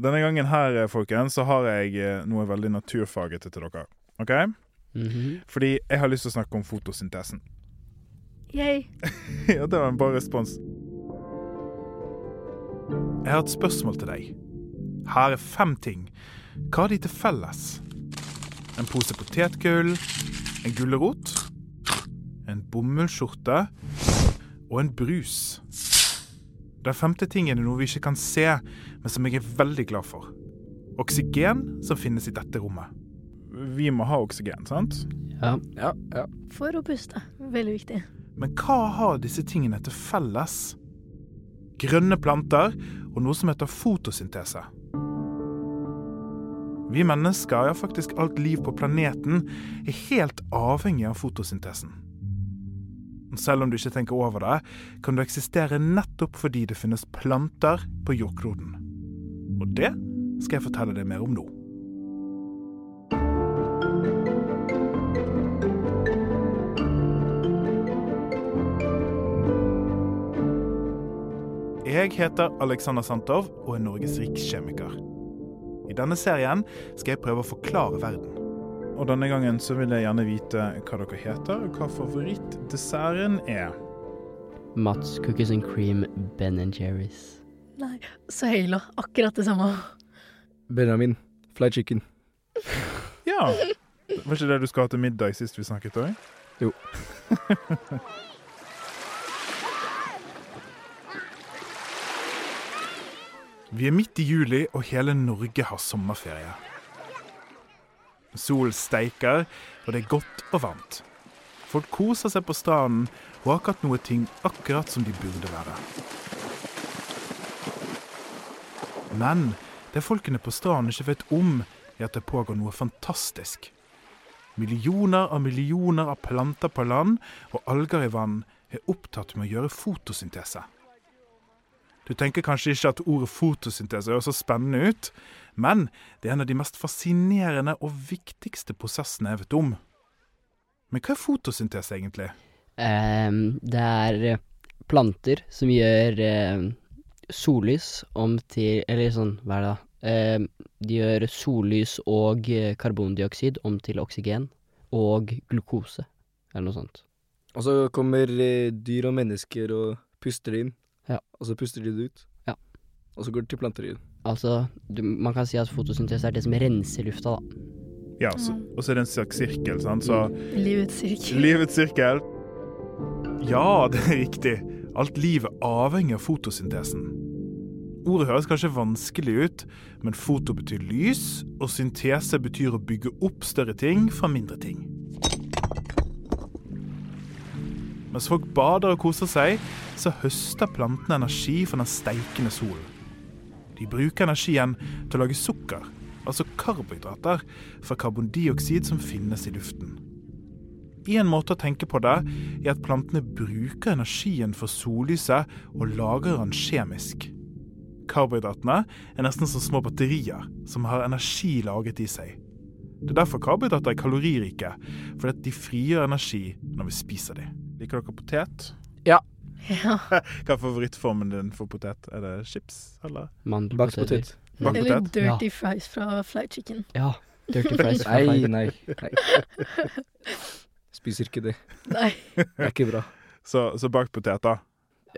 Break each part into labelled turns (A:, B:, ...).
A: Denne gangen her, eh, folkens, så har jeg eh, noe veldig naturfagete til dere. OK?
B: Mhm.
A: Fordi jeg har lyst til å snakke om fotosyntesen.
C: Yay.
A: ja, det var en bra respons. Jeg har et spørsmål til deg. Her er fem ting. Hva har de til felles? En pose potetgull, en gulrot, en bomullsskjorte og en brus. Den femte tingen er noe vi ikke kan se, men som jeg er veldig glad for. Oksygen som finnes i dette rommet. Vi må ha oksygen, sant?
B: Ja.
D: Ja, ja.
C: For å puste. Veldig viktig.
A: Men hva har disse tingene til felles? Grønne planter og noe som heter fotosyntese. Vi mennesker, ja faktisk alt liv på planeten, er helt avhengig av fotosyntesen. Og Selv om du ikke tenker over det, kan du eksistere nettopp fordi det finnes planter på jordkloden. Og det skal jeg fortelle deg mer om nå. Jeg heter Alexander Santov og er Norges rikskjemiker. I denne serien skal jeg prøve å forklare verden. Og denne gangen så vil jeg gjerne vite hva dere heter, og hva favorittdesserten er.
B: Mats Cookies and Cream Ben Jerry's.
C: Nei, Saila. Akkurat det samme.
D: Benjamin. Fly chicken.
A: Ja. Var ikke det du skulle ha til middag sist vi snakket òg?
D: Jo.
A: Vi er midt i juli, og hele Norge har sommerferie. Solen steiker, og det er godt og varmt. Folk koser seg på stranden og har ikke hatt noe ting akkurat som de burde være. Men det folkene på stranden ikke vet om, er at det pågår noe fantastisk. Millioner av millioner av planter på land og alger i vann er opptatt med å gjøre fotosyntese. Du tenker kanskje ikke at ordet fotosyntese høres så spennende ut, men det er en av de mest fascinerende og viktigste prosessene jeg vet om. Men hva er fotosyntese egentlig?
B: Ehm, det er eh, planter som gjør eh, sollys om til Eller sånn, hva er det da? Ehm, de gjør sollys og eh, karbondioksid om til oksygen og glukose, eller noe sånt.
D: Og så kommer eh, dyr og mennesker og puster det inn.
B: Ja.
D: Og så puster de det ut.
B: Ja.
D: Og så går det til planter igjen.
B: Altså, du, man kan si at fotosyntese er det som renser lufta, da.
A: Ja, så, og så er det en slags sirkel, sant? så
C: Livets sirkel.
A: livets sirkel. Ja, det er riktig. Alt livet avhenger av fotosyntesen. Ordet høres kanskje vanskelig ut, men foto betyr lys, og syntese betyr å bygge opp større ting fra mindre ting. Mens folk bader og koser seg, så høster plantene energi fra den steikende solen. De bruker energien til å lage sukker, altså karbohydrater, fra karbondioksid som finnes i luften. En måte å tenke på det, er at plantene bruker energien for sollyset og lagrer den kjemisk. Karbohydratene er nesten som små batterier som har energi lagret i seg. Det er derfor karbohydrater er kaloririke, fordi at de frigjør energi når vi spiser dem. Liker dere potet?
C: Ja.
A: Hva er favorittformen din for potet? Er det chips, eller?
D: Bakt
B: Mandelpoteter.
D: potet.
A: Bakt
C: Eller
A: potet?
C: dirty fries fra Fly Chicken.
B: Ja. Dirty fries. fra
D: Nei,
B: Five.
D: nei. nei. Spiser ikke det.
C: Nei.
D: Det er ikke bra.
A: Så, så bakt potet, da.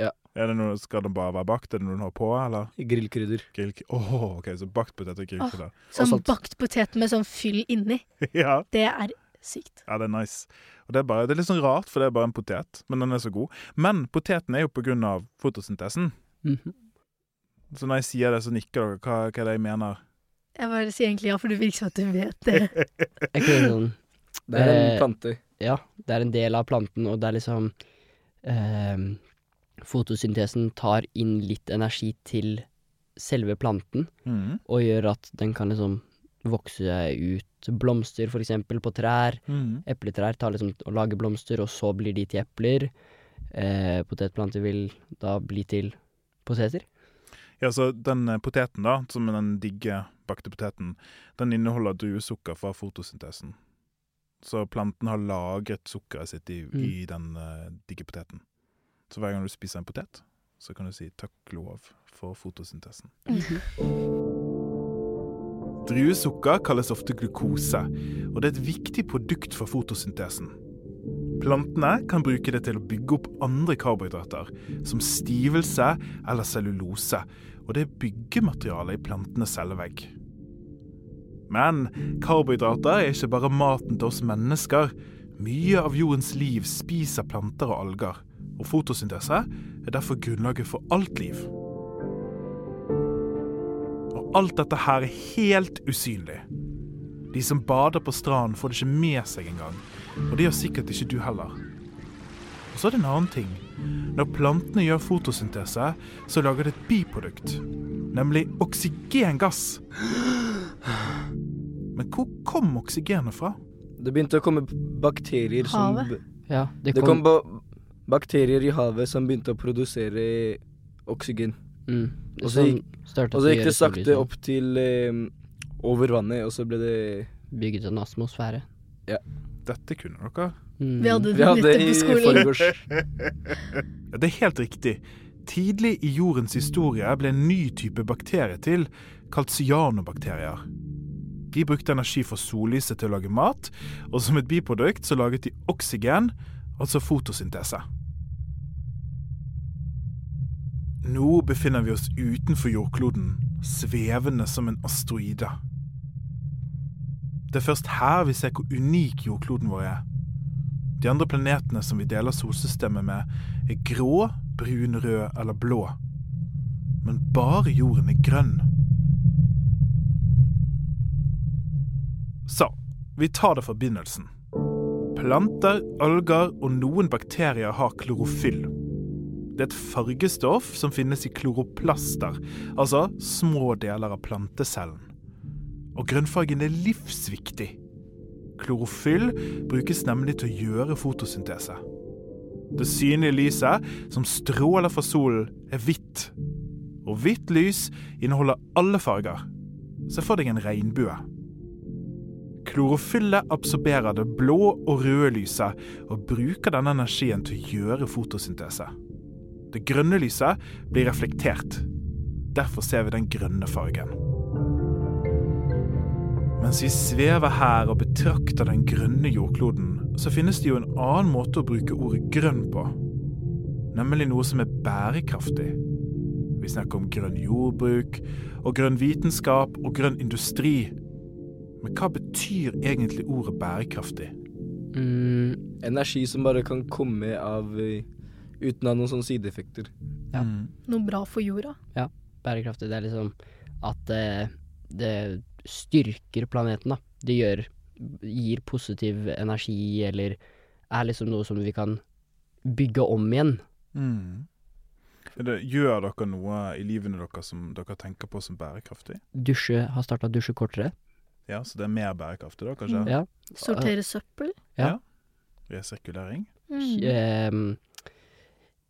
D: Ja.
A: Er det noe, skal den bare være bakt? Er det noe den har på, eller?
D: Grillkrydder.
A: Grill... Åh, ok, så bakt potet og grillkrydder.
C: Sånn
D: salt.
C: bakt potet med sånn fyll inni.
A: ja.
C: Det er sykt.
A: Ja, det er nice. Og det er, bare, det er litt sånn rart, for det er bare en potet, men den er så god. Men poteten er jo på grunn av fotosyntesen.
B: Mhm.
A: Så når jeg sier det, så nikker dere. Hva, hva er det jeg mener?
C: Jeg bare sier egentlig ja, for det virker som at du vet det.
B: Er ikke det sånn
D: Det er
B: Eh,
D: en plante.
B: Ja, det er en del av planten, og det er liksom ehm, Fotosyntesen tar inn litt energi til selve planten,
A: Mhm.
B: og gjør at den kan liksom vokse ut blomster, for eksempel, på trær.
A: Mhm.
B: Epletrær tar liksom og lager blomster, og så blir de til epler. Eh, potetplanter vil da bli til poteter.
A: Ja, så den eh, poteten, da, som er den digge bakte poteten, den inneholder druesukker fra fotosyntesen. Så planten har lagret sukkeret sitt i,
B: Mm.
A: i den eh, digge poteten. Så hver gang du spiser en potet, så kan du si takk, lov, for fotosyntesen. Druesukker kalles ofte glukose, og det er et viktig produkt for fotosyntesen. Plantene kan bruke det til å bygge opp andre karbohydrater, som stivelse eller cellulose, og det er byggematerialet i plantenes cellevegg. Men karbohydrater er ikke bare maten til oss mennesker. Mye av jordens liv spiser planter og alger, og fotosyntese er derfor grunnlaget for alt liv. Og alt dette her er helt usynlig. De som bader på stranden, får det ikke med seg engang. Og det gjør sikkert ikke du heller. Og så er det en annen ting. Når plantene gjør fotosyntese, så lager det et biprodukt. Nemlig oksygengass. Men hvor kom oksygenet fra?
D: Det begynte å komme bakterier som
C: Havet?
B: Ja, det
D: Det kom
B: kom,
D: ba bakterier i havet som begynte å produsere oksygen.
B: mm,
D: og så
B: sånn
D: gikk-
B: startet
D: Og så
B: å
D: gikk
B: gjøre
D: det sakte
B: sollyset.
D: opp til eh, over vannet, og så ble det
B: Bygget en atmosfære.
A: Dette kunne dere.
B: Mm.
C: Vi hadde
D: Vi
C: det
D: hadde
C: nettopp
D: i
C: på skolen.
D: forgårs.
A: Ja, det er helt riktig. Tidlig i jordens historie ble en ny type bakterie til, kalt cyanobakterier. De brukte energi fra sollyset til å lage mat, og som et biprodukt så laget de oksygen, altså fotosyntese. Nå befinner vi oss utenfor jordkloden, svevende som en asteroide. Det er først her vi ser hvor unik jordkloden vår er. De andre planetene som vi deler solsystemet med, er grå, brun, rød eller blå. Men bare jorden er grønn. Så, vi tar det fra begynnelsen. Planter, alger og noen bakterier har klorofyll. Det er et fargestoff som finnes i kloroplaster, altså små deler av plantecellen. Og grønnfargen er livsviktig. Klorofyll brukes nemlig til å gjøre fotosyntese. Det synlige lyset som stråler fra solen, er hvitt. Og hvitt lys inneholder alle farger. Se for deg en regnbue. Klorofyllet absorberer det blå og røde lyset og bruker denne energien til å gjøre fotosyntese. Det grønne lyset blir reflektert. Derfor ser vi den grønne fargen. Mens vi svever her og betrakter den grønne jordkloden, så finnes det jo en annen måte å bruke ordet grønn på. Nemlig noe som er bærekraftig. Vi snakker om grønn jordbruk og grønn vitenskap og grønn industri. Men hva betyr egentlig ordet bærekraftig?
B: Mm,
D: Energi som bare kan komme av eh, Uten av noen sånne sideeffekter.
B: Ja.
A: Mm.
C: Noe bra for jorda.
B: bærekraftig, det er liksom at eh, det styrker planeten, da. Det gjør Gir positiv energi, eller er liksom noe som vi kan bygge om igjen.
A: Mm. Det, gjør dere noe i livene deres som dere tenker på som bærekraftig?
B: Dusje har starta å dusje kortere.
A: Ja, Så det er mer bærekraftig, da,
C: kanskje?
B: Mm. Ja.
C: Sortere søppel.
A: Resirkulering?
C: Mm.
B: Ehm,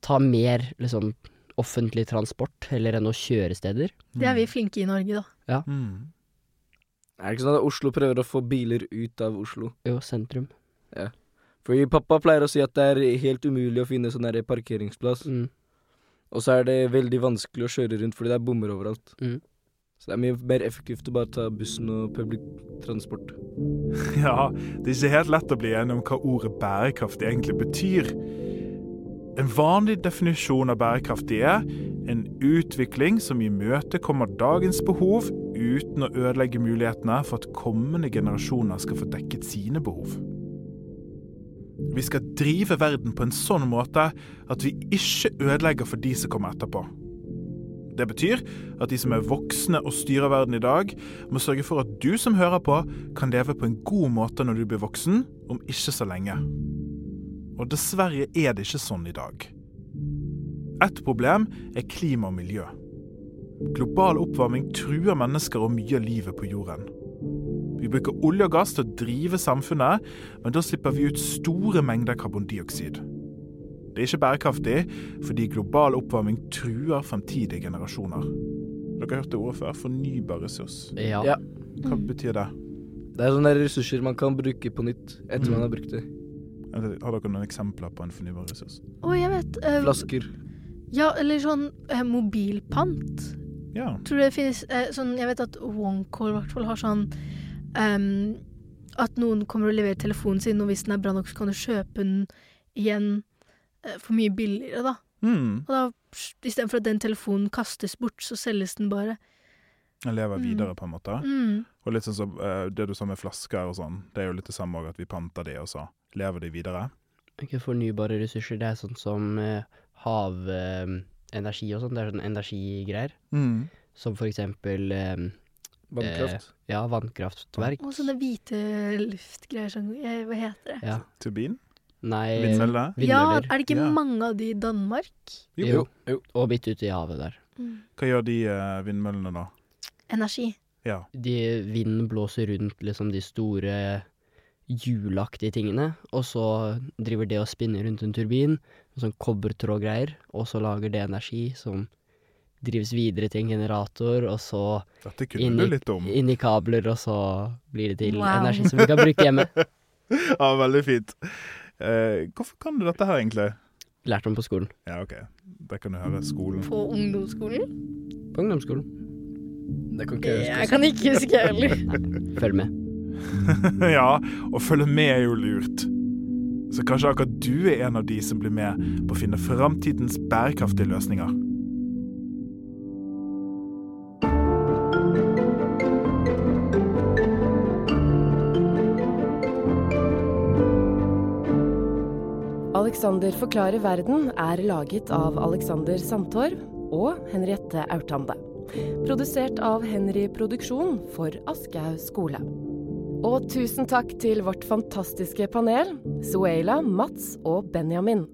B: ta mer liksom offentlig transport heller enn å kjøre steder.
C: Det er vi flinke i Norge, da.
A: Mm.
D: Er det ikke sånn at Oslo prøver å få biler ut av Oslo?
B: Jo, sentrum.
D: Fordi pappa pleier å si at det er helt umulig å finne sånn her parkeringsplass.
B: Mm.
D: Og så er det veldig vanskelig å kjøre rundt fordi det er bommer overalt.
B: Mm.
D: Så det er mye mer effektivt å bare ta bussen og public transport.
A: Ja, det er ikke helt lett å bli enig om hva ordet bærekraftig egentlig betyr. En vanlig definisjon av bærekraftig er en utvikling som imøtekommer dagens behov uten å ødelegge mulighetene for at kommende generasjoner skal få dekket sine behov. Vi skal drive verden på en sånn måte at vi ikke ødelegger for de som kommer etterpå. Det betyr at de som er voksne og styrer verden i dag, må sørge for at du som hører på, kan leve på en god måte når du blir voksen, om ikke så lenge. Og dessverre er det ikke sånn i dag. Et problem er klima og miljø. Global oppvarming truer mennesker og mye av livet på jorden. Vi bruker olje og gass til å drive samfunnet, men da slipper vi ut store mengder karbondioksid. Det er ikke bærekraftig, fordi global oppvarming truer fremtidige generasjoner. Dere har hørt det ordet før, fornybar ressurs.
B: Ja.
D: Ja.
A: Hva
C: Mm.
A: betyr det?
D: Det er sånne her ressurser man kan bruke på nytt etter
A: Mm.
D: man har brukt det.
A: Eller Har dere noen eksempler på en fornybar ressurs?
C: Å, jeg Mm. vet. eh,
D: Flasker.
C: ja, eller sånn eh, mobilpant.
A: Ja.
C: Tror du det finnes eh, sånn Jeg vet at OneCall i hvert fall har sånn ehm, At noen kommer og leverer telefonen sin, og hvis den er bra nok, så kan du kjøpe den igjen eh, for mye billigere, da.
A: Mm.
C: Og da istedenfor at den telefonen kastes bort, så selges den bare.
A: Jeg lever
C: Mm.
A: videre, på en måte.
C: Mm.
A: Og litt sånn som eh, det du sa med flasker og sånn, det er jo litt det samme òg, at vi panter de, og så lever de videre.
B: Ikke fornybare ressurser. Det er sånn som eh, havenergi og sånn. Det er sånn energigreier.
A: Mm.
B: Som for eksempel eh,
D: Vannkraft.
B: ja, vannkraftverk.
C: Og sånne hvite luftgreier sånn eh, Hva heter det?
B: Ja.
A: Turbin?
B: Nei,
A: Vindmølle?
C: Ja,
B: vindmøller.
C: er det ikke
A: Ja.
C: mange av de i Danmark?
B: Eh, Jo.
D: jo.
B: Og midt ute i havet der.
C: Mm.
A: Hva gjør de eh, vindmøllene, da?
C: Energi.
A: Ja.
B: De, vinden blåser rundt liksom de store hjulaktige tingene, og så driver det og spinner rundt en turbin, med sånn kobbertrådgreier, og så lager det energi som drives videre til en generator, og så
A: Dette kunne
B: Inni-
A: du litt om.
B: inn i kabler, og så blir det til
C: Wow.
B: energi som vi kan bruke hjemme.
A: Ja, veldig fint. Eh, hvorfor kan du dette her, egentlig?
B: Lært om på skolen.
A: Ja, OK. Der kan du høre skolen.
C: På ungdomsskolen?
B: På ungdomsskolen.
D: Det kan ikke jeg
C: Jeg
D: huske.
C: kan ikke huske heller.
B: Følg med.
A: ja, å følge med er jo lurt. Så kanskje akkurat du er en av de som blir med på å finne framtidens bærekraftige løsninger.
E: Alexander forklarer verden er laget av Alexander Sandtorv og Henriette Aurtande. Produsert av Henry Produksjon for Aschehoug skole. Og tusen takk til vårt fantastiske panel, Suela, Mats og Benjamin.